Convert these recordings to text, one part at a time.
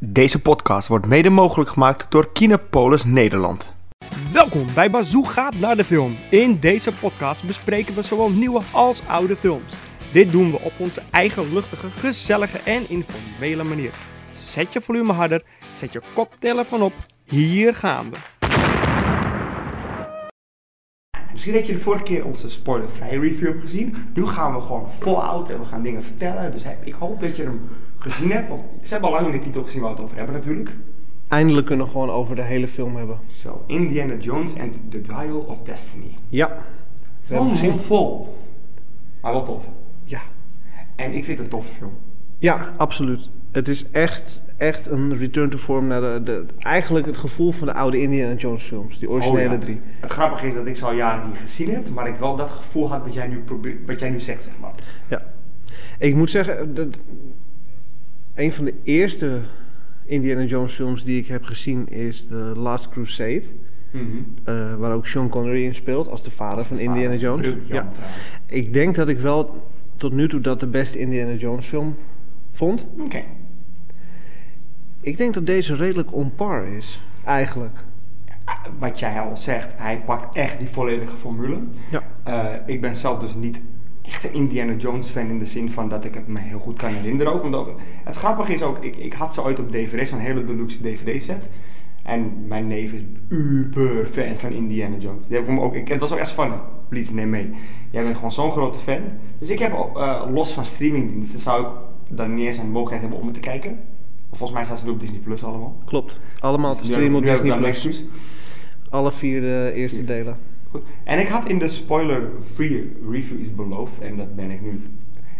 Deze podcast wordt mede mogelijk gemaakt door Kinepolis Nederland. Welkom bij Bazoo gaat naar de film. In deze podcast bespreken we zowel nieuwe als oude films. Dit doen we op onze eigen luchtige, gezellige en informele manier. Zet je volume harder, zet je koptelefoon op. Hier gaan we. Misschien heb je de vorige keer onze spoilervrij review hebt gezien. Nu gaan we gewoon vol out en we gaan dingen vertellen. Dus ik hoop dat je hem gezien hebt. Want ze hebben al lang in de titel gezien waar we het over hebben natuurlijk. Eindelijk kunnen we gewoon over de hele film hebben. Zo, Indiana Jones and the Dial of Destiny. Ja. Het We hebben is hem wel gezien. mond vol. Maar wel tof. Ja. En ik vind het een toffe film. Ja, absoluut. Het is echt, echt een return to form naar de, de- eigenlijk het gevoel van de oude Indiana Jones films. Die originele Oh ja. drie. Het grappige is dat ik ze al jaren niet gezien heb, maar ik wel dat gevoel had wat jij nu, probeert, wat jij nu zegt, zeg maar. Ja. Ik moet zeggen, dat, een van de eerste Indiana Jones films die ik heb gezien is The Last Crusade. eh, waar ook Sean Connery in speelt als de vader van Indiana Jones. Ja. Ik denk dat ik wel tot nu toe dat de beste Indiana Jones film vond. Oké. Ik denk dat deze redelijk on par is, eigenlijk. Ah, Wat jij al zegt, hij pakt echt die volledige formule. Ja. Eh, ik ben zelf dus niet echt een Indiana Jones fan in de zin van dat ik het me heel goed kan herinneren ook. Omdat het grappige is ook, ik, ik had ze ooit op DVD, zo'n hele deluxe DVD set. En mijn neef is uber fan van Indiana Jones. Die heb ik hem ook, ik, het was ook echt van, please neem mee. Jij bent gewoon zo'n grote fan. Dus ik heb al, eh, los van streamingdiensten zou ik dan niet eens een mogelijkheid hebben om het te kijken. Volgens mij staan ze nu op Disney Plus allemaal. Dus Klopt. Allemaal te streamen op Nu heb ik Disney+. daar Plus. niks toe. Alle vier de eerste delen. Goed. En ik had in de spoiler-free review iets beloofd en dat ben ik nu.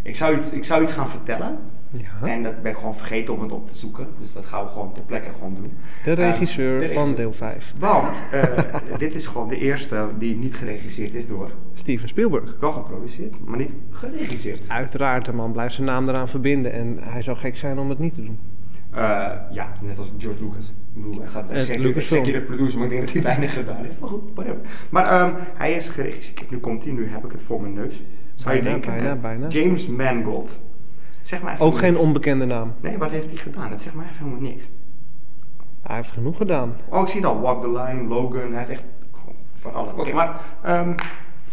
Ik zou iets, ik zou iets gaan vertellen Ja. en dat ben ik gewoon vergeten om het op te zoeken. Dus dat gaan we gewoon ter plekke gewoon doen. De Eh, de regisseur regisseur. van deel 5. Want eh, dit is gewoon de eerste die niet geregisseerd is door. Steven Spielberg. Wel geproduceerd, maar niet geregisseerd. Uiteraard, de man blijft zijn naam eraan verbinden. En hij zou gek zijn om het niet te doen. Eh, ja, net als George Lucas. Ik bedoel, hij gaat Het zeker, Eh, Lucasfilm. zeker de producer, maar ik denk dat hij weinig gedaan heeft. Maar goed, whatever. Maar ehm, hij is geregisseerd. Nu komt hij, nu heb ik het voor mijn neus. Zou je Bijna, denken, bijna, hè? bijna. James Mangold. Zeg maar even Ook geen niks. onbekende naam. Nee, wat heeft hij gedaan? Dat zegt mij even helemaal niks. Hij heeft genoeg gedaan. Oh, ik zie het al. Walk the Line, Logan. Hij heeft echt gewoon van alles. Oké, maar ehm,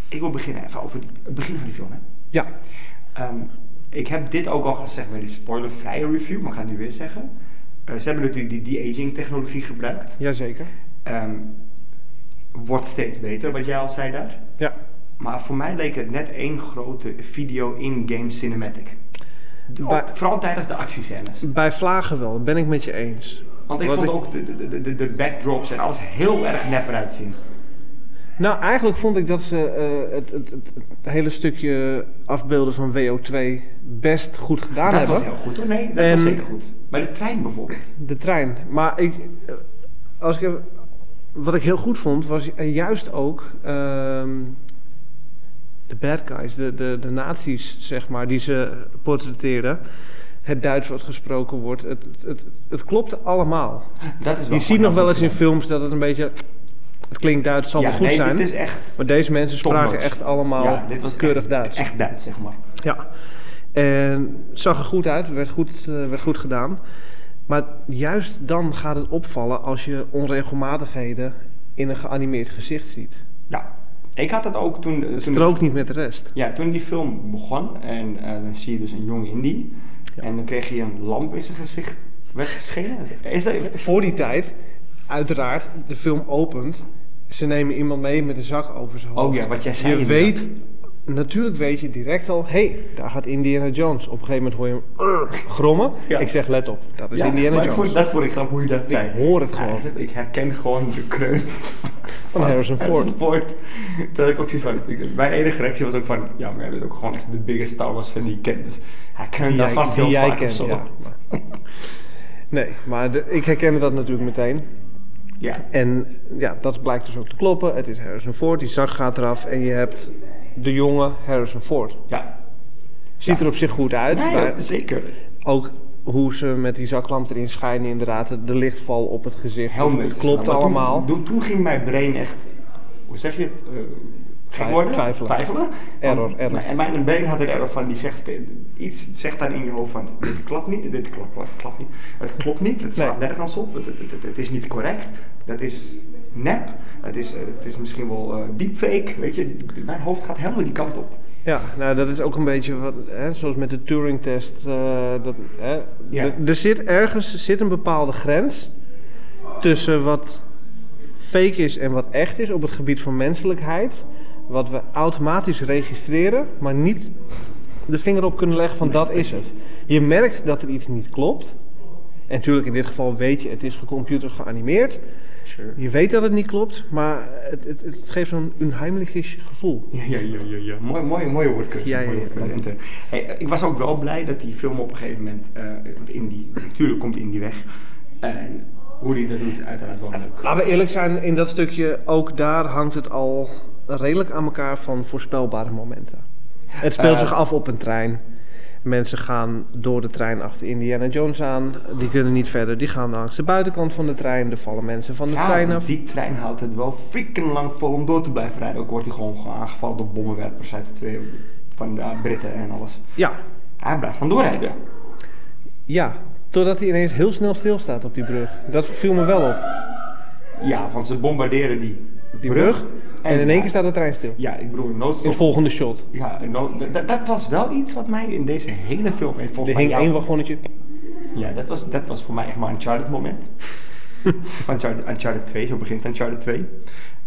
ik wil beginnen even over het begin van die film. Hè. Ja. Ehm, ik heb dit ook al gezegd bij die spoilervrije review, maar ik ga het nu weer zeggen. Eh, ze hebben natuurlijk die de-aging technologie gebruikt. Jazeker. Ehm, wordt steeds beter, wat jij al zei daar. Ja. Maar voor mij leek het net één grote video in-game cinematic. Ook- Bij, vooral tijdens de actiescènes. bij vlagen wel, ben ik met je eens. Want ik Wat vond ik- ook de, de, de, de backdrops en alles heel erg nepper uitzien. Nou, eigenlijk vond ik dat ze eh, het, het, het, het hele stukje afbeelden van WO2 best goed gedaan dat hebben. was heel goed hoor, nee, dat En- was zeker goed. Bij de trein bijvoorbeeld. De trein. Maar ik, eh, als ik even- wat ik heel goed vond, was eh, juist ook ehm, de bad guys, de, de, de nazi's, zeg maar, die ze portretteerden. Het Duits wat gesproken wordt. Het, het, het, het klopte allemaal. Dat is wel Je ziet gewoon nog wel heel eens goed in gedaan. films dat het een beetje... Het klinkt Duits, zal ja, wel goed nee, zijn. dit is echt... Maar deze mensen spraken topnotch. echt allemaal Ja, dit was keurig echt, Duits. Echt Duits, zeg maar. Ja. En het zag er goed uit, werd goed, eh, werd goed gedaan. Maar juist dan gaat het opvallen als je onregelmatigheden in een geanimeerd gezicht ziet. Ja. Ik had dat ook toen... eh, toen Het de- strookt niet met de rest. Ja, toen die film begon en eh, dan zie je dus een jong indie. Ja. En dan kreeg hij een lamp in zijn gezicht weggeschenen. Is dat... Voor die tijd, uiteraard, de film opent. Ze nemen iemand mee met een zak over zijn hoofd. Oh ja, wat jij zei. je inderdaad. weet, natuurlijk weet je direct al, hé, hey, daar gaat Indiana Jones. Op een gegeven moment hoor je hem "Urgh", grommen. Ja. Ik zeg, let op, dat is Ja, Indiana maar ik Jones. vond- dat vond ik grappig hoe je dat zei. hoor het Ja, gewoon. hij zegt, ik herken gewoon de kreun Van Harrison Ford. Dat ik ook zie van... ik- mijn enige reactie was ook van... Ja, maar jij bent ook gewoon echt de biggest Star Wars fan die ik ken. Dus hij kent Die daar jij- vast die heel jij vaak of kent, zo. ja. Maar- Nee, maar de- ik herkende dat natuurlijk meteen. Ja. En ja, dat blijkt dus ook te kloppen. Het is Harrison Ford, die zak gaat eraf en je hebt de jonge Harrison Ford. ja. Ziet Ja. er op zich goed uit, Nee, maar zeker. ook hoe ze met die zaklamp erin schijnen, inderdaad, de de lichtval op het gezicht. Heel Het netjes klopt gedaan. Maar toen- allemaal. Toen, toen ging mijn brein echt... Hoe zeg je het? eh, Gek worden? Twijfelen. Error, Want error. mijn- Mijn been had een error van, die zegt eh, iets, zegt dan in je hoofd van, dit klopt niet, dit klopt, klopt, klopt niet. Het klopt niet, het slaat Nee. nergens op, het, het, het- het is niet correct, dat is nep, het is, eh, het is misschien wel eh, deepfake, weet je. Mijn hoofd gaat helemaal die kant op. Ja, nou dat is ook een beetje wat, hè, zoals met de Turing-test. eh, dat, hè, Ja. d- Er zit ergens zit een bepaalde grens tussen wat fake is en wat echt is op het gebied van menselijkheid. Wat we automatisch registreren, maar niet de vinger op kunnen leggen van Nee, dat is het. Je merkt dat er iets niet klopt. En natuurlijk in dit geval weet je, het is gecomputer geanimeerd. Sure. Je weet dat het niet klopt, maar het, het, het geeft zo'n unheimlich gevoel. Ja, ja, ja, ja. ja. Mooi, mooi, mooie woordkeuze. Ja, ja, mooie ja, woordkeuze. dank je. Hey, eh, ik was ook wel blij dat die film op een gegeven moment, eh, want Indy, natuurlijk komt Indy weg. En hoe die dat doet, uiteraard wel leuk. Laten we eerlijk zijn, in dat stukje, ook daar hangt het al redelijk aan elkaar van voorspelbare momenten. Het speelt Eh. zich af op een trein. Mensen gaan door de trein achter Indiana Jones aan. Die kunnen niet verder. Die gaan langs de buitenkant van de trein. Er vallen mensen van de Ja, trein want af. die trein houdt het wel freaking lang vol om door te blijven rijden. Ook wordt hij gewoon gewoon aangevallen door bommenwerpers uit de twee van de eh, Britten en alles. Ja, Hij blijft gewoon doorrijden. ja. Totdat hij ineens heel snel stilstaat op die brug. Dat viel me wel op. Ja, want ze bombarderen die, Die brug. En in één keer staat de trein stil. Ja, ik bedoel, In het noodstop. volgende shot. Ja, no- d- d- dat was wel iets wat mij in deze hele film... En Er volgens mij hing jou- één wagonnetje. Ja, dat was, dat was voor mij echt maar een Uncharted moment. Uncharted, Uncharted 2, zo begint Uncharted 2.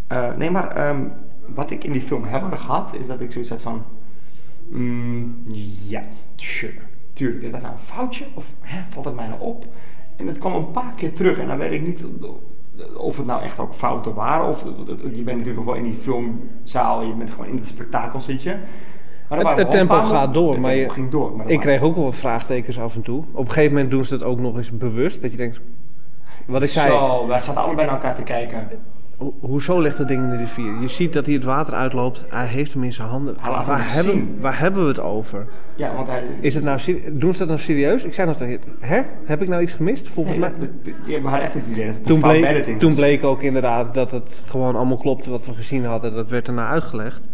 Eh, nee, maar ehm, wat ik in die film heel erg had, is dat ik zoiets had van... mm, ja, sure. Tuurlijk, is dat nou een foutje? Of hè, valt het mij nou op? En het kwam een paar keer terug. En dan weet ik niet of het nou echt ook fouten waren. Of je bent natuurlijk nog wel in die filmzaal. Je bent gewoon in het spektakel zit je. Maar er waren Het- het wel een tempo paar- gaat door, Het maar tempo je- ging door. maar er Ik waren- kreeg ook wel wat vraagtekens af en toe. Op een gegeven moment doen ze dat ook nog eens bewust. Dat je denkt, wat ik zei, Zo, wij zaten allebei naar elkaar te kijken. ho- hoezo ligt dat ding in de rivier? Je ziet dat hij het water uitloopt. Hij heeft hem in zijn handen. Hij laat Waar het hebben, zien. waar hebben we het over? Ja, want hij... Is het nou, ser- doen ze dat nou serieus? Ik zei nog steeds, hè? Heb ik nou iets gemist? Volgens Nee, mij... dat- dat- dat- ja, we hadden echt het idee dat het Toen een fout bij bleek, dat ding toen was. bleek ook inderdaad dat het gewoon allemaal klopte wat we gezien hadden. Dat werd daarna uitgelegd.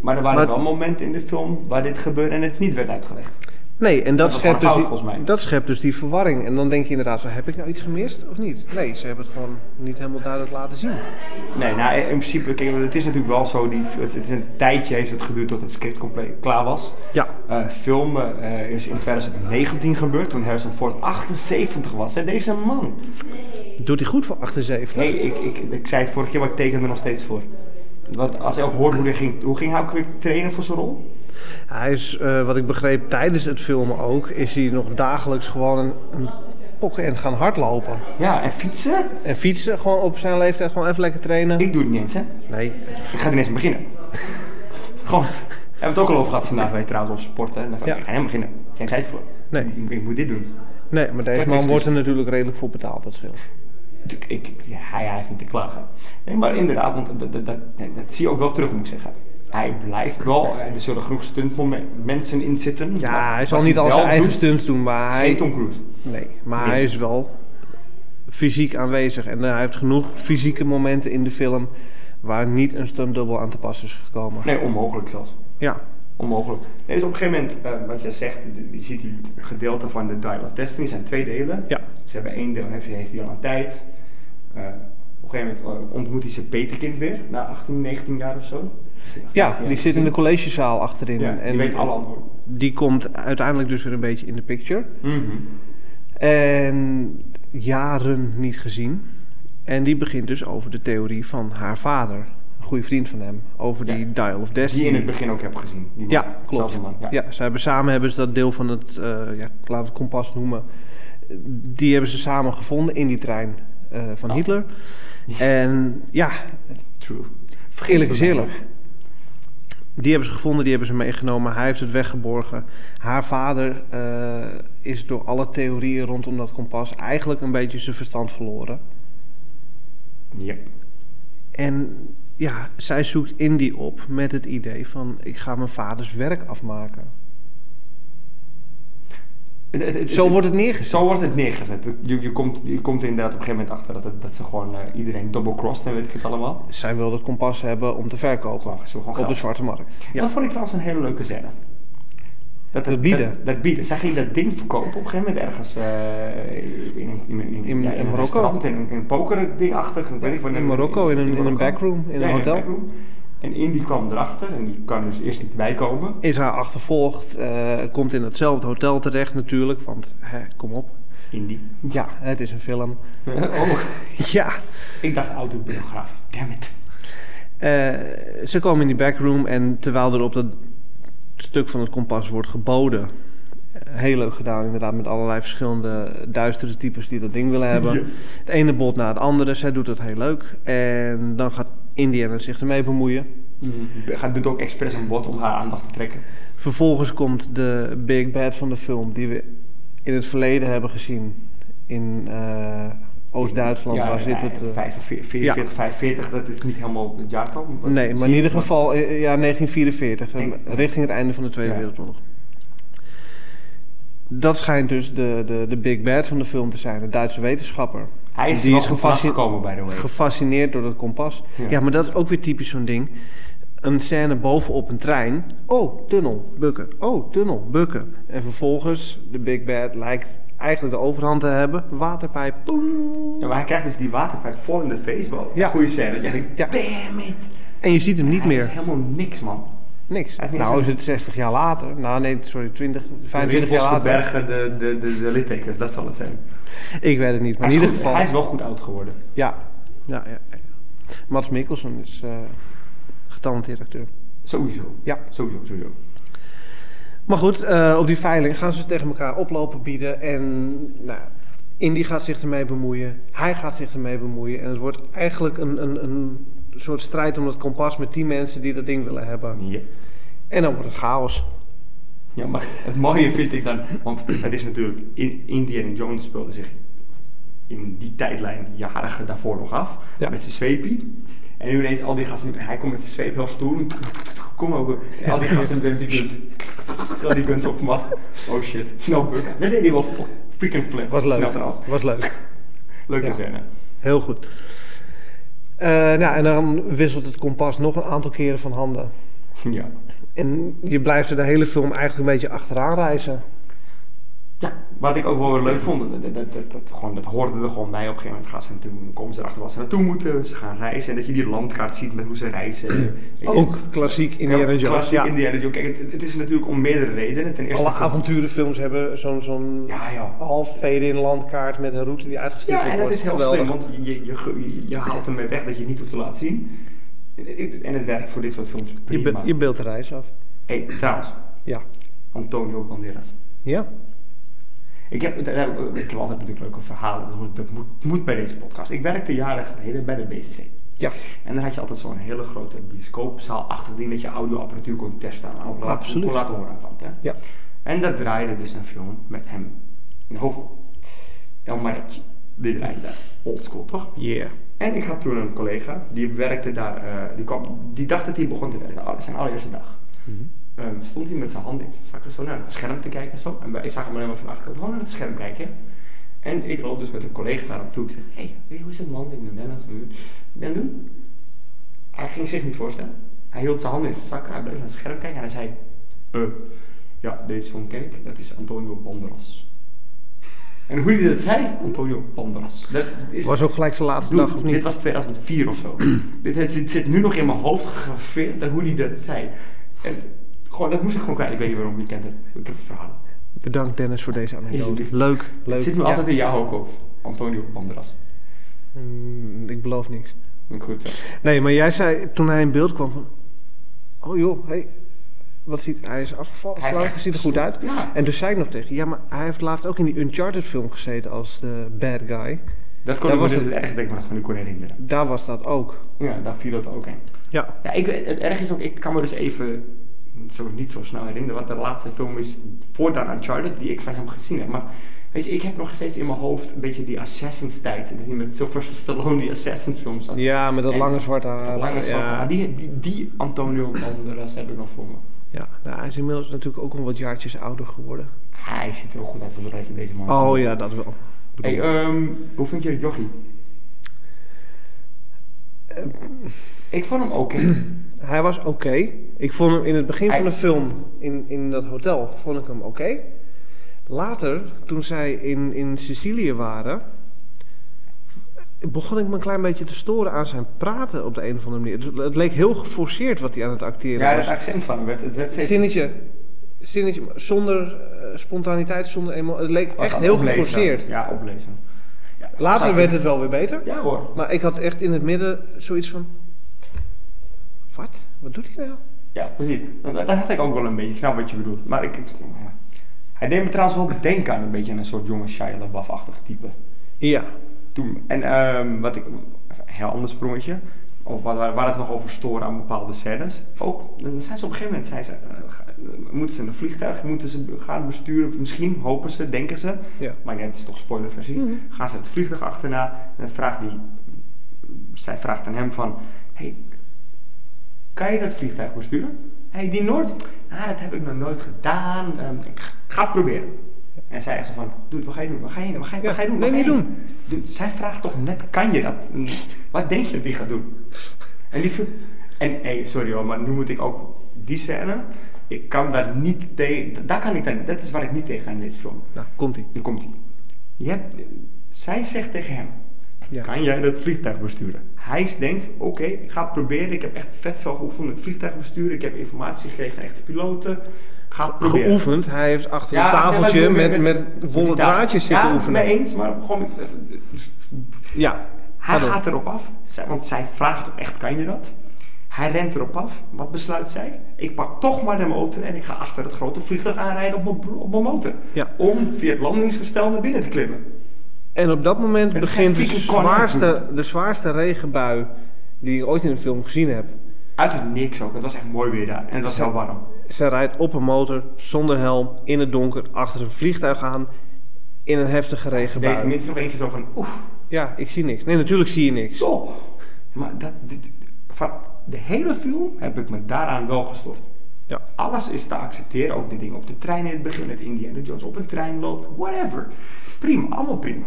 Maar er waren maar- wel momenten in de film waar dit gebeurde en het niet werd uitgelegd. Nee, en dat, was schept, gewoon dus een die, fout, volgens mij. dat schept dus die verwarring. En dan denk je inderdaad, zo, heb ik nou iets gemist of niet? Nee, ze hebben het gewoon niet helemaal duidelijk laten zien. Nee, nou in principe, kijk, het is natuurlijk wel zo, die, het, het is een tijdje heeft het geduurd tot het script compleet klaar was. Ja, Eh film eh, is in 2019 gebeurd, toen Harrison Ford 78 was. Hè, deze man. Doet hij goed voor 78? Nee, ik, ik, ik zei het vorige keer, maar ik teken er nog steeds voor. Want als je ook hoort hoe, hij ging, hoe ging hij ook weer trainen voor zijn rol? Hij is, eh, wat ik begreep tijdens het filmen ook, is hij nog dagelijks gewoon een, een pokken en gaan hardlopen. Ja, en fietsen? En fietsen, gewoon op zijn leeftijd, gewoon even lekker trainen. Ik doe het niet eens, hè. Nee, Ik ga er niet eens aan beginnen. Gewoon. We hebben het ook al over gehad vandaag bij trouwens op sport. Hè. Dan ga ik Ja. ik ga helemaal beginnen. Geen tijd voor. Nee. Ik, ik moet dit doen. nee maar deze Kijk, man niks wordt er natuurlijk redelijk voor betaald, dat scheelt. Ik, ik, ja, hij, hij heeft niet te klagen. Nee, maar inderdaad, want dat, dat, dat, nee, dat zie je ook wel terug, moet ik zeggen. Hij blijft wel. en Er zullen genoeg stuntmomen- mensen in zitten. Ja, hij Wat zal niet al wel zijn eigen doet, stunts doen, maar is geen hij, Tom Cruise. nee, maar Nee. hij is wel fysiek aanwezig. En eh, hij heeft genoeg fysieke momenten in de film waar niet een stuntdubbel aan te pas is gekomen. Nee, onmogelijk zelfs. Ja, Onmogelijk. Nee, dus op een gegeven moment, eh, wat je zegt, je ziet die gedeelte van de Dial of Destiny, zijn twee delen. ja. Ze hebben één deel, heeft, heeft hij al een tijd. Eh, op een gegeven moment eh, ontmoet hij zijn peterkind weer, na 18, 19 jaar of zo. ja die zit in de collegezaal achterin. Ja, en die weet alle antwoorden. die komt uiteindelijk dus weer een beetje in de picture. Mhm. En jaren niet gezien. En die begint dus over de theorie van haar vader. Een goede vriend van hem. Over die Ja. Dial of Destiny. Die je in het begin ook hebt gezien. Die man. Ja, klopt. Zelfde man, ja. Ja, ze hebben samen hebben ze dat deel van het, eh, ja, ik laat het kompas noemen. Die hebben ze samen gevonden in die trein eh, van Oh. Hitler. En ja, True. eerlijk is eerlijk. Die hebben ze gevonden, die hebben ze meegenomen. Hij heeft het weggeborgen. Haar vader eh, is door alle theorieën rondom dat kompas eigenlijk een beetje zijn verstand verloren. Ja. En ja, zij zoekt Indy op met het idee van ik ga mijn vaders werk afmaken. Het- het- het- Zo het- wordt het neergezet. Zo wordt het neergezet. Je, je, komt, je komt er inderdaad op een gegeven moment achter dat, het- dat ze gewoon eh, iedereen double-crossed en weet ik het allemaal. Zij wil het kompas hebben om te verkopen Gewoon, ze wil gewoon op geld. de zwarte markt. Ja. Dat vond ik trouwens een hele leuke scène. Dat, het- Dat bieden. Dat, dat bieden. Zij ging dat ding verkopen op een gegeven moment ergens eh, in, een- in, een- in, In- ja, in een Marokko. restaurant, in een, in een pokerdingachtig. weet ik wat, in Marokko, in een- in een Marokko. backroom, in een hotel. backroom. En Indy kwam erachter en die kan dus eerst niet bijkomen. Is haar achtervolgd, eh, komt in hetzelfde hotel terecht natuurlijk, want hè, kom op. Indy. Ja, het is een film. oh, ja. ik dacht autobiografisch, damn it. Eh, ze komen in die backroom en terwijl er op dat stuk van het kompas wordt geboden. eh, Heel leuk gedaan, inderdaad, met allerlei verschillende duistere types die dat ding willen hebben. Ja. Het ene bod na het andere, zij doet dat heel leuk. En dan gaat Indiana zich ermee bemoeien. Mm-hmm. Gaat doet ook expres een bot om haar aandacht te trekken. Vervolgens komt de Big Bad van de film, die we in het verleden hebben gezien. In eh, Oost-Duitsland, waar zit het? eh, 45, Ja. 45, dat is niet helemaal het jaartal. maar- Nee, maar in ieder geval, eh, ja, 1944, eh, Ik- richting het einde van de Tweede Ja. Wereldoorlog. Dat schijnt dus de, de, de big bad van de film te zijn, een Duitse wetenschapper. Hij is, Die nog is vanaf gefascine- gekomen, by the way. Gefascineerd door dat kompas. Ja. Ja. maar dat is ook weer typisch zo'n ding. Een scène bovenop een trein. Oh, tunnel, bukken. Oh, tunnel, bukken. En vervolgens, de big bad lijkt eigenlijk de overhand te hebben. Waterpijp, poem. Ja, maar hij krijgt dus die waterpijp vol in de Facebook. Ja. Ja. Goeie scène. Dat je denkt, Ja. damn it. En je ziet hem niet Hij heeft meer. helemaal niks, man. Niks. Hij heeft niet Nou is eens- het 60 jaar later. Nou nee, sorry, 20, De 25 rimpels jaar later. verbergen de, de, de, de littekens, dat zal het zijn. Ik weet het niet, maar Hij in is, ieder goed- geval. hij is wel goed oud geworden. Ja. Ja, ja, ja. Mats Mikkelsen is eh getalenteerd acteur. Sowieso. Ja. Sowieso, sowieso. Maar goed, eh, op die veiling gaan ze tegen elkaar oplopen bieden. En nou, Indy gaat zich ermee bemoeien. Hij gaat zich ermee bemoeien. En het wordt eigenlijk een, een, een soort strijd om dat kompas met die mensen die dat ding willen hebben. Ja. En dan wordt het chaos. Ja, maar het mooie vind ik dan, want het is natuurlijk, in, Indiana Jones speelde zich in die tijdlijn jaren daarvoor nog af, Ja. met zijn zweepie. En nu ineens al die gasten, hij komt met zijn zweep heel stoer, kom ook, en al die gasten met die guns, al die guns op hem af. Oh shit, snap ik. Dat deed hij wel fo- freaking flip. Was Snel leuk. eraf. Was leuk. Leuke Ja. scène. Heel goed. Eh, nou, en dan wisselt het kompas nog een aantal keren van handen. Ja. En je blijft er de hele film eigenlijk een beetje achteraan reizen. Ja, wat ik ook wel weer leuk vond, dat, dat, dat, dat, gewoon, dat hoorde er gewoon bij. Op een gegeven moment gaan ze toen komen ze erachter waar ze naartoe moeten. Ze gaan reizen en dat je die landkaart ziet met hoe ze reizen. Ik- Ook klassiek Indiana Jones. Klassiek ja. Indiana Jones. Kijk, het, het is natuurlijk om meerdere redenen. Ten eerste Alle voor- avonturenfilms hebben zo'n zo'n Ja, ja. half in landkaart met een route die uitgestippeld Ja, wordt. en dat is heel Geweldig. slim, want je, je, je, je haalt ermee weg dat je het niet hoeft te laten zien. En het werkt voor dit soort films Je, prima. be- je beeldt de reis af. Hey, trouwens, Ja. Antonio Banderas. Ja? Ik heb, daar heb ik, ik heb altijd natuurlijk leuke verhalen, dat, hoort- dat moet, moet bij deze podcast. Ik werkte jaren geleden bij de BCC. Ja. En dan had je altijd zo'n hele grote bioscoopzaal achter ding dat je audioapparatuur kon testen en ook laten, Absoluut. kon laten horen aan de kant. Hè? Ja. En dat draaide dus een film met hem in de hoofd. El Maretje. Die draaide daar. Oldschool, toch? Yeah. En ik had toen een collega, die werkte daar, eh, die, kwam, die dacht dat hij begon te werken, alle- zijn allereerste dag. Ehm, stond hij met zijn handen in zijn zakken zo naar het scherm te kijken zo. En wij- ik zag hem alleen maar van achterkant gewoon naar het scherm kijken. En ik loop dus met een collega naar hem toe. Ik zeg, hé, hey, weet je hoe is dat man in de Nederlandse muur? Ben doen? Hij ging zich niet voorstellen. Hij hield zijn handen in zijn zakken, hij bleef naar het scherm kijken en hij zei, eh, ja, deze film ken ik, dat is Antonio Banderas. En hoe hij dat zei? Antonio Banderas. Dat is Was ook gelijk zijn laatste Dude, dag, of niet? Dit was 2004 of zo. dit het zit, zit nu nog in mijn hoofd gegraveerd dat- hoe die dat zei. En gewoon, dat moest ik gewoon kwijt. Ik weet niet waarom, je kent het. Ik heb verhalen. Bedankt Dennis voor deze anekdote. Alsjeblieft. Leuk, leuk. Het zit me Ja. altijd in jouw hoofd, hoor. Antonio Banderas. Mm, ik beloof niks. Goed eh, zo. Nee, maar jij zei toen hij in beeld kwam van... Oh joh, hé. wat ziet... Hij is afgevallen. Hij is Hij echt- ziet er goed uit. Ja. En toen zei ik nog tegen je, ja, maar hij heeft laatst ook in die Uncharted film gezeten als de bad guy. Dat kon Daar ik was me het- het erg dat ik me dat gewoon niet kon herinneren. Daar was dat ook. Ja, daar viel dat ook in. Ja. Ja, ik, weet- het erg is ook, ik kan me dus even zo, niet zo snel herinneren wat de laatste film is voordat Uncharted die ik van hem gezien heb. Maar weet je, ik heb nog steeds in mijn hoofd een beetje die Assassins tijd. Dat hij met Sylvester Stallone die Assassins films zat. Ja, met dat En lange zwarte haar. Lange ja. ja. die, die, die Antonio Banderas heb ik nog voor me. Ja, nou, Nou, hij is inmiddels natuurlijk ook al wat jaartjes ouder geworden. Ah, Hij ziet er ook goed uit voor de leeftijd, deze man. Oh ja, dat wel. Hey, ehm, hoe vind je het jochie? Eh, Ik vond hem oké. Hij was oké. Ik vond hem in het begin van de eh, Hij- film, in, in dat hotel, vond ik hem oké. Later, toen zij in, in Sicilië waren, begon ik me een klein beetje te storen aan zijn praten op de een of andere manier. Het, het leek heel geforceerd wat hij aan het acteren Ja, was. dat accent van hem werd, het werd steeds... Zinnetje. Zinnetje, maar zonder eh, spontaniteit, zonder emotie. Het leek was echt aan heel oplezen. geforceerd. Ja, oplezen. Ja, dat Later zag werd ik. het wel weer beter. Ja hoor. Maar ik had echt in het midden zoiets van... Wat? Wat doet hij nou? Ja, precies. Dat, dat had ik ook wel een beetje. Ik snap wat je bedoelt. Maar ik... ja. Hij deed me trouwens wel denken aan een beetje een soort jonge Shia LaBeouf-achtig type. Ja. Toen, en ehm, wat ik, een heel ander sprongetje, of wat, waar, waar het nog over storen aan bepaalde scènes. Ook, dan zijn ze op een gegeven moment, zijn ze, eh, ga- eh, moeten ze in een vliegtuig, moeten ze gaan besturen, misschien hopen ze, denken ze. Ja. Maar nee, het is toch spoilerversie. Mhm. Gaan ze het vliegtuig achterna en dan vraagt die, zij vraagt aan hem van, hey, kan je dat vliegtuig besturen? hey, die Noord? Ah, dat heb ik nog nooit gedaan. Ehm, ik ga het proberen. En zij zegt zo van, doet, wat ga je doen? Wat ga je, wat ga je, wat Ja, ga je doen? nee, Wat niet ga je doen. Dude, zij vraagt toch net, kan je dat? Mm, Wat denk je dat die gaat doen? En die... ver- En, hey, sorry hoor, maar nu moet ik ook die scène... Ik kan daar niet tegen... Daar kan ik tegen... Dat is waar ik niet tegen ga in deze film. Nou, komt-ie. Nu komt ie. Je hebt... Zij zegt tegen hem... Ja. Kan jij dat vliegtuig besturen? Hij denkt, oké, ik ga het proberen. Ik heb echt vet veel geoefend met vliegtuig besturen. Ik heb informatie gekregen van echte piloten. Ik ga het proberen. Geoefend. Hij heeft achter Ja, een tafeltje ja, met, met, wollen die tafel. draadjes zitten ja, oefenen. mee eens, maar gewoon... eh, Ja. Hij Pardon. gaat erop af, zij- want zij vraagt toch echt, kan je dat? Hij rent erop af. Wat besluit zij? Ik pak toch maar de motor en ik ga achter het grote vliegtuig aanrijden op mijn, bro- op mijn motor. Ja. Om via het landingsgestel naar binnen te klimmen. En op dat moment Het is geen begint de fucking Conan, zwaarste, de zwaarste regenbui die ik ooit in een film gezien heb. Uit het niks ook. Het was echt mooi weer daar. En het was heel warm. Ze rijdt op een motor, zonder helm, in het donker, achter een vliegtuig aan, in een heftige Ze deed regenbui. tenminste nog eentje zo van, oeh, Ja, ik zie niks. Nee, natuurlijk zie je niks. zo. Maar dat, dit- dit- van de hele film heb ik me daaraan wel gestort. Ja. Alles is te accepteren, ook die dingen op de trein in het begin, dat Indiana Jones op een trein loopt, whatever. Prima, allemaal prima.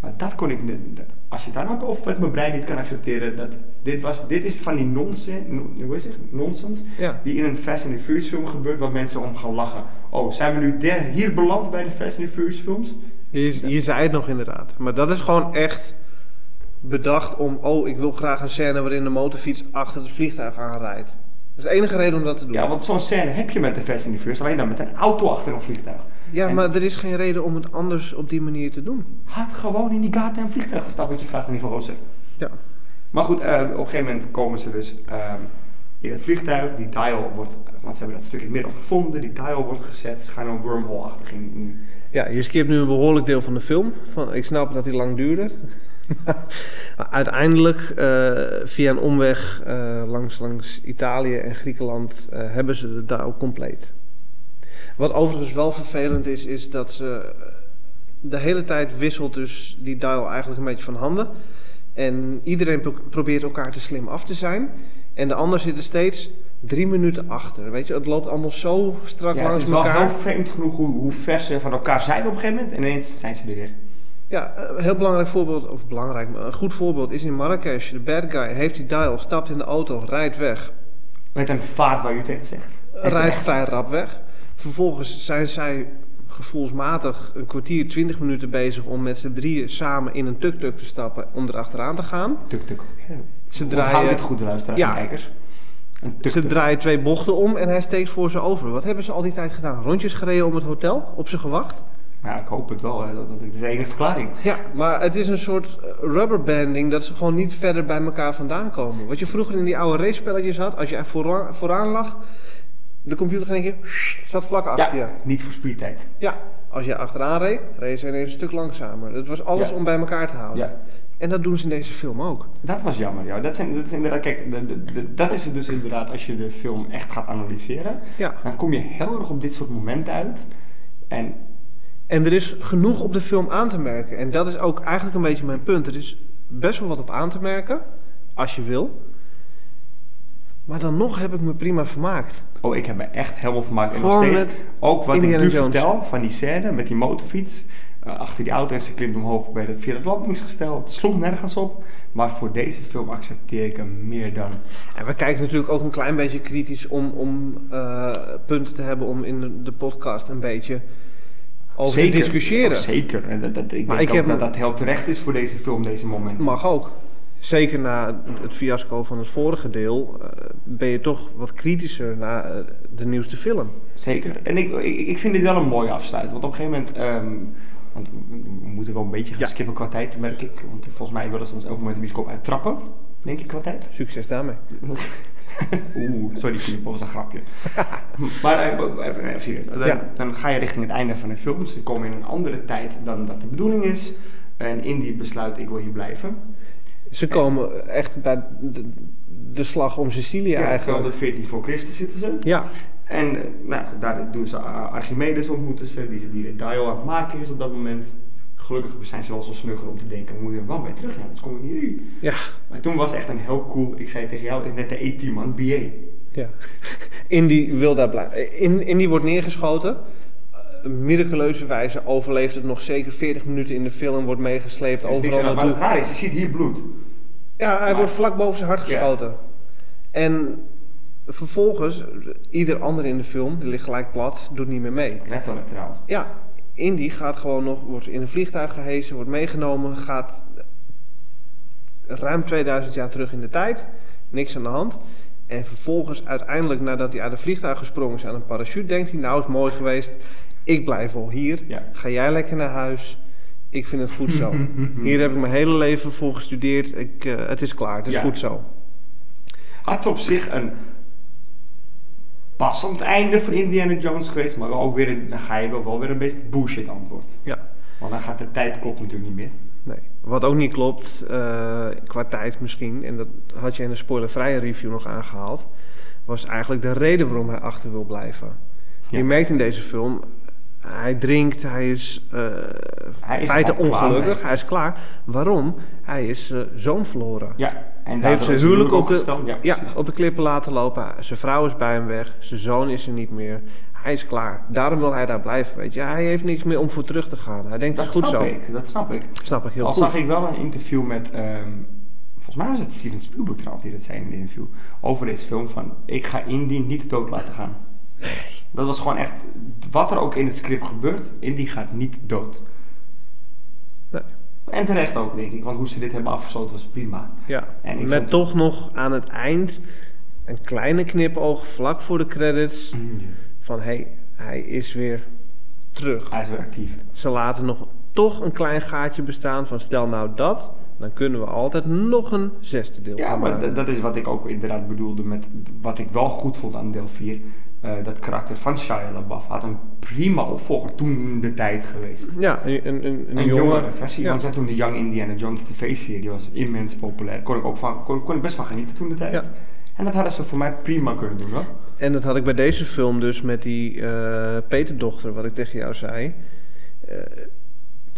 Maar dat kon ik net, dat- als je daar nou of met mijn brein niet kan accepteren, dat dit, was, dit is van die nonsens, hoe is het, nonsens, Ja. die in een Fast and the Furious film gebeurt, waar mensen om gaan lachen. Oh, zijn we nu de- hier beland bij de Fast and the Furious films? Je, je zei het nog inderdaad. Maar dat is gewoon echt bedacht om... Oh, ik wil graag een scène waarin de motorfiets achter het vliegtuig aanrijdt. Dat is de enige reden om dat te doen. Ja, want zo'n scène heb je met de Fast and the Furious, alleen dan met een auto achter een vliegtuig. Ja, En- maar er is geen reden om het anders op die manier te doen. Had gewoon in die goddamn vliegtuig gestapt, wat je vraagt in ieder geval, Rozer. Ja. Maar goed, eh, op een gegeven moment komen ze dus ehm, in het vliegtuig. Die dial wordt, want ze hebben dat stuk in het midden gevonden. Die dial wordt gezet. Ze gaan een wormhole-achtig in. in- Ja, je skipt nu een behoorlijk deel van de film. Van, ik snap dat die lang duurde. Maar Uiteindelijk, eh, via een omweg eh, langs, langs Italië en Griekenland, eh, hebben ze de DAO compleet. Wat overigens wel vervelend is, is dat ze eh, de hele tijd wisselt dus die DAO eigenlijk een beetje van handen. En iedereen pro- probeert elkaar te slim af te zijn. En de ander zit er steeds drie minuten achter. Weet je, het loopt allemaal zo strak Ja, het langs is wel elkaar. heel vreemd genoeg hoe, hoe ver ze van elkaar zijn op een gegeven moment. En ineens zijn ze er weer. Ja, een heel belangrijk voorbeeld, of belangrijk, maar een goed voorbeeld is in Marrakesh. De bad guy heeft die dial, stapt in de auto, rijdt weg. Met een vaart waar u tegen zegt. En Rijdt terecht. vrij rap weg. Vervolgens zijn zij gevoelsmatig een kwartier, twintig minuten bezig om met z'n drieën samen in een tuk-tuk te stappen om erachteraan te gaan. Tuk, tuk. Ja. Ze Onthoud draaien, dit goed, de luisteraars Ja. en kijkers. Een tuk, ze tuk. draaien twee bochten om en hij steekt voor ze over. Wat hebben ze al die tijd gedaan? Rondjes gereden om het hotel? Op ze gewacht? Ja, ik hoop het wel. hè. Dat, dat is de enige verklaring. Ja, maar het is een soort eh, rubberbanding dat ze gewoon niet verder bij elkaar vandaan komen. Wat je vroeger in die oude race-spelletjes had, als je vooraan, vooraan lag, de computer ging een keer, zat vlak achter ja, je. niet voor speedtijd. Ja, als je achteraan reed, reed ze ineens een stuk langzamer. Het was alles Ja. om bij elkaar te houden. Ja. En dat doen ze in deze film ook. Dat was jammer, ja. Dat, zijn, dat is inderdaad, kijk, de- de- de- dat is het dus inderdaad als je de film echt gaat analyseren. Ja. Dan kom je heel erg op dit soort momenten uit. En En er is genoeg op de film aan te merken. En dat is ook eigenlijk een beetje mijn punt. Er is best wel wat op aan te merken, als je wil. Maar dan nog heb ik me prima vermaakt. Oh, ik heb me echt helemaal vermaakt. En nog Gewoon steeds. met Ook wat Indiana ik nu Jones. vertel van die scène met die motorfiets. eh, achter die auto en ze klimt omhoog bij dat, via het landingsgestel. Het sloeg nergens op. Maar voor deze film accepteer ik hem meer dan. En we kijken natuurlijk ook een klein beetje kritisch om, om eh, punten te hebben om in de, de podcast een beetje over te discussiëren. Oh, zeker. En dat, dat, ik Maar denk ik ook heb dat hem- dat heel terecht is voor deze film, deze momenten. Mag ook. Zeker na het- het fiasco van het vorige deel eh, ben je toch wat kritischer naar eh, de nieuwste film. Zeker. En ik, ik, ik vind dit wel een mooie afsluit. Want op een gegeven moment... ehm, want we we moeten wel een beetje gaan Ja. skippen qua tijd, merk ik. Want volgens mij willen ze ons elk moment de bioscoop uittrappen. Denk ik qua tijd. Succes daarmee. Oeh, sorry Filip, dat was een grapje. maar eh, even, even, even serieus. Dan, Ja. dan ga je richting het einde van de film. Ze komen in een andere tijd dan dat de bedoeling is. En Indy besluit, ik wil hier blijven. Ze komen echt bij de, de slag om Sicilië Ja, eigenlijk. 214 voor Christus zitten ze. Ja, En eh, nou, daar doen ze eh, Archimedes ontmoeten ze, die ze die detail aan het maken is op dat moment. Gelukkig zijn ze wel zo snugger om te denken, we moeten er wel mee terug gaan, anders komen we hier. ja, Maar toen was echt een heel cool, ik zei tegen jou, net de E-team man, BA. ja. Indy wil daar blijven. In, Indy wordt neergeschoten. Eh, miraculeuze wijze overleeft het nog zeker 40 minuten in de film. Wordt meegesleept En ik zei, overal nou, Maar het naartoe. raar is, je ziet hier bloed. Ja, hij Maar- wordt vlak boven zijn hart Ja. geschoten. En vervolgens, ieder ander in de film, die ligt gelijk plat, doet niet meer mee. Letterlijk trouwens. Ja, Indy gaat gewoon nog, wordt in een vliegtuig gehesen, wordt meegenomen, gaat ruim 2000 jaar terug in de tijd, niks aan de hand. En vervolgens, uiteindelijk nadat hij uit een vliegtuig gesprongen is aan een parachute, denkt hij: Nou, is mooi geweest, ik blijf wel hier. Ja. Ga jij lekker naar huis. Ik vind het goed zo. Hier heb ik mijn hele leven voor gestudeerd. Ik, eh, het is klaar, het is Ja. goed zo. Had op zich een passend einde voor Indiana Jones geweest, maar wel ook weer, een- dan ga je wel, wel weer een beetje bullshit antwoord. Ja. Want dan gaat de tijd klopt natuurlijk niet meer. Nee. Wat ook niet klopt, eh, qua tijd misschien, en dat had je in de spoilervrije review nog aangehaald, was eigenlijk de reden waarom hij achter wil blijven. Ja. Je merkt in deze film, hij drinkt, hij is eh Hij is feiten gewoon klaar ongelukkig, mee. hij is klaar. Waarom? Hij is eh, zoon verloren. Ja, en Hij heeft daardoor zijn is het huwelijk op de, opgesteld. Ja, ja, oh, precies. op de klippen laten lopen. Zijn vrouw is bij hem weg. Zijn zoon is er niet meer. Hij is klaar. Daarom wil hij daar blijven. Weet je. Hij heeft niks meer om voor terug te gaan. Hij denkt, dat het is goed snap zo. ik, dat snap ik. Snap ik heel Al goed. zag ik wel een interview met, ehm, volgens mij was het Steven Spielberg trouwens die dat zei in een interview, over deze film van, ik ga Indy niet dood laten gaan. Dat was gewoon echt, wat er ook in het script gebeurt, Indy gaat niet dood. Nee. En terecht ook, denk ik, want hoe ze dit hebben afgesloten was prima. Ja, En ik met vond- toch nog aan het eind een kleine knipoog vlak voor de credits. Van hé, hey, hij is weer terug. Hij is weer actief. Ze laten nog toch een klein gaatje bestaan van stel nou dat. Dan kunnen we altijd nog een zesde deel Ja, gaan maar maken. d- dat is wat ik ook inderdaad bedoelde met wat ik wel goed vond aan deel 4. eh, dat karakter van Shia LaBeouf had een prima opvolger toen de tijd geweest. Ja, een, een, een, een Een jongen. jongere versie, Ja. want ja, toen de Young Indiana Jones tv-serie was immens populair. Kon ik, ook van, kon, kon ik best van genieten toen de tijd. Ja. En dat hadden ze voor mij prima kunnen doen hoor. En dat had ik bij deze film dus met die eh, Peterdochter, wat ik tegen jou zei. Eh,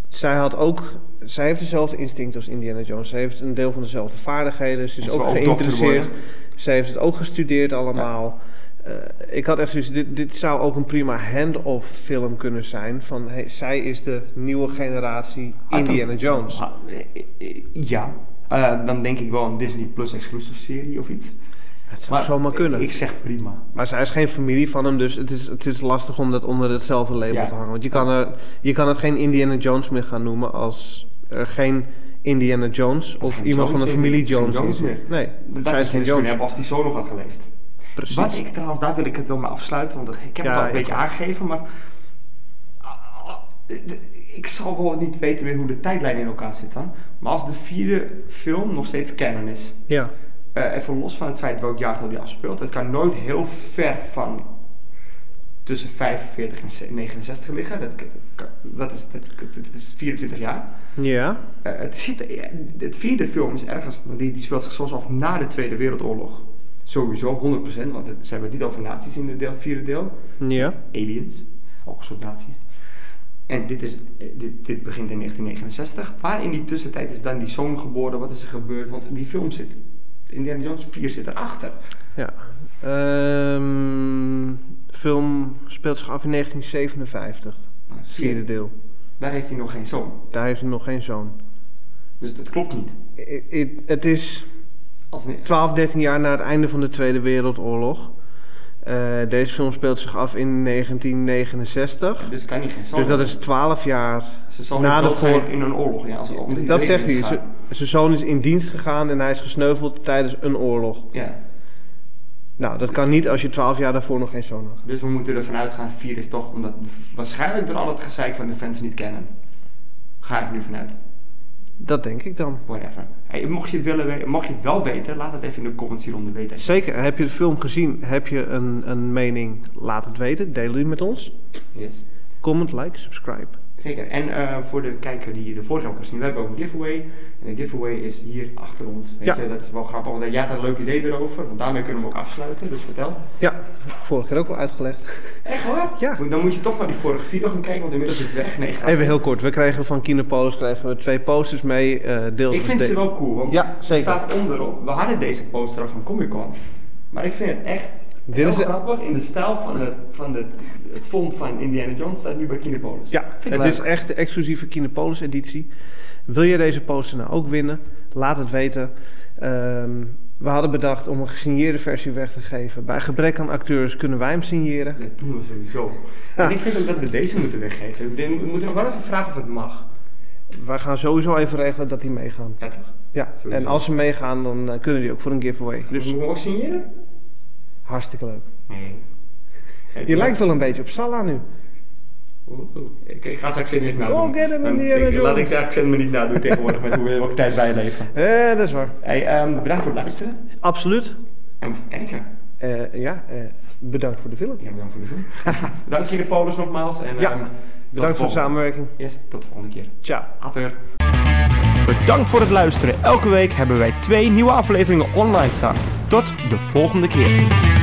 zij had ook, zij heeft dezelfde instinct als Indiana Jones. Zij heeft een deel van dezelfde vaardigheden. Ze En is ze ook wil ook dokter geïnteresseerd. worden. Zij heeft het ook gestudeerd allemaal. Eh, ik had echt zoiets, dit, dit zou ook een prima hand-off film kunnen zijn. Van, hey, zij is de nieuwe generatie Had hem- Indiana Jones. Ah, eh, eh, eh, Ja, Eh, dan denk ik wel een Disney Plus exclusive serie of iets. Het zou zomaar kunnen. Ik zeg prima. Maar zij is geen familie van hem, dus het is, het is lastig om dat onder hetzelfde label Ja. te hangen. Want je kan, er, je kan het geen Indiana Jones meer gaan noemen als er geen Indiana Jones Als of geen iemand Jones van de in- familie is geen Jones, Jones in zit. Nee, Dat zij is is geen kunnen Jones. hebben als die zoon nog had geleefd. Precies. Wat ik trouwens, daar wil ik het wel mee afsluiten, want ik heb Ja, het al een ik beetje ook. aangegeven, maar ah, ik zal wel niet weten weer hoe de tijdlijn in elkaar zit dan. Maar als de vierde film nog steeds canon is, Ja, eh, even los van het feit welk jaartal die afspeelt, het kan nooit heel ver van tussen 45 en ze- 69 liggen. Dat, kan- dat, is, dat, dat is 24 jaar. ja, Eh, het, zit, eh, het vierde film is ergens, want die, die speelt zich soms af na de Tweede Wereldoorlog. Sowieso, 100%, want het, ze hebben het niet over nazi's in het deel, vierde deel. ja. Aliens, ook een soort nazi's. En dit, is, eh, dit, dit begint in 1969. Waar in die tussentijd is dan die zoon geboren? Wat is er gebeurd? Want die film zit Indiana Jones 4 zit erachter. Ja. Ehm, film speelt zich af in 1957, Nou, het zie je, vierde deel. Daar heeft hij nog geen zoon. Daar heeft hij nog geen zoon. Dus dat klopt niet. I- i- Het is Als een- 12, 13 jaar na het einde van de Tweede Wereldoorlog. Eh, deze film speelt zich af in 1969. dus kan hij geen zoon Dus dat hebben. is 12 jaar. Zijn zoon na is de doodgereden voor- in een oorlog. Ja, als om de Dat zegt hij. Hitler is Zijn- gaan. Zijn zoon is in dienst gegaan en hij is gesneuveld tijdens een oorlog. Ja. Nou, dat kan niet als je 12 jaar daarvoor nog geen zoon had. Dus we moeten ervan uitgaan, 4 is toch, omdat waarschijnlijk door al het gezeik van de fans niet kennen. Ga ik nu vanuit. Dat denk ik dan. Whatever. Hey, mocht, je het willen, we- mocht je het wel weten, laat het even in de comments hieronder weten. Zeker, heb je de film gezien? Heb je een, een mening? Laat het weten. Deel die met ons. Yes. Comment, like, subscribe. Zeker. En eh, voor de kijker die de vorige ook al zien, we hebben ook een giveaway. En de giveaway is hier achter ons. Weet Ja. je, dat is wel grappig, want jij had een leuk idee erover. Want daarmee kunnen we hem ook afsluiten, dus vertel. Ja, vorige keer ook al uitgelegd. Echt hoor? Ja. Dan moet je toch maar die vorige video gaan kijken, want inmiddels is het weg. Nee, grapje. Even heel kort. We kregen van Kinopolis krijgen we twee posters mee. eh deels Ik vind ze wel cool, want Ja, er zeker. staat onderop. We hadden deze poster al van Comic Con. Maar ik vind het echt Dit heel is- grappig. In de stijl van, de, van de, het font van Indiana Jones staat nu bij Kinepolis. Ja, Vind ik het leuk. is echt de exclusieve Kinopolis editie. Wil je deze poster nou ook winnen? Laat het weten. Ehm, we hadden bedacht om een gesigneerde versie weg te geven. Bij gebrek aan acteurs kunnen wij hem signeren. Dat doen we sowieso. En ik vind ook dat we deze moeten weggeven. We moeten nog wel even vragen of het mag. Wij gaan sowieso even regelen dat die meegaan. Ja, toch? Ja, Sowieso. en als ze meegaan, dan eh, kunnen die ook voor een giveaway. Dus Dus moeten we ook signeren? hartstikke leuk. Nee. Je lijkt wel een beetje op Salah nu. Oh, Ik, ik ga zijn accent niet nadoen. Go get him, Dan- Indiana ik- Laat ik Jones. zijn accent me niet nadoen tegenwoordig, met hoe we ook tijd bijleven. Eh, dat is waar. Hey, ehm, bedankt voor het luisteren. Absoluut. En voor het kijken. Eh, ja, eh, bedankt voor de film. Ja, bedankt voor de hulp. Dank jullie, Polis, nogmaals. En, Ja, ehm, tot Bedankt voor de volgende- samenwerking. Yes, tot de volgende keer. Ciao. Ater. Bedankt voor het luisteren. Elke week hebben wij twee nieuwe afleveringen online staan. Tot de volgende keer.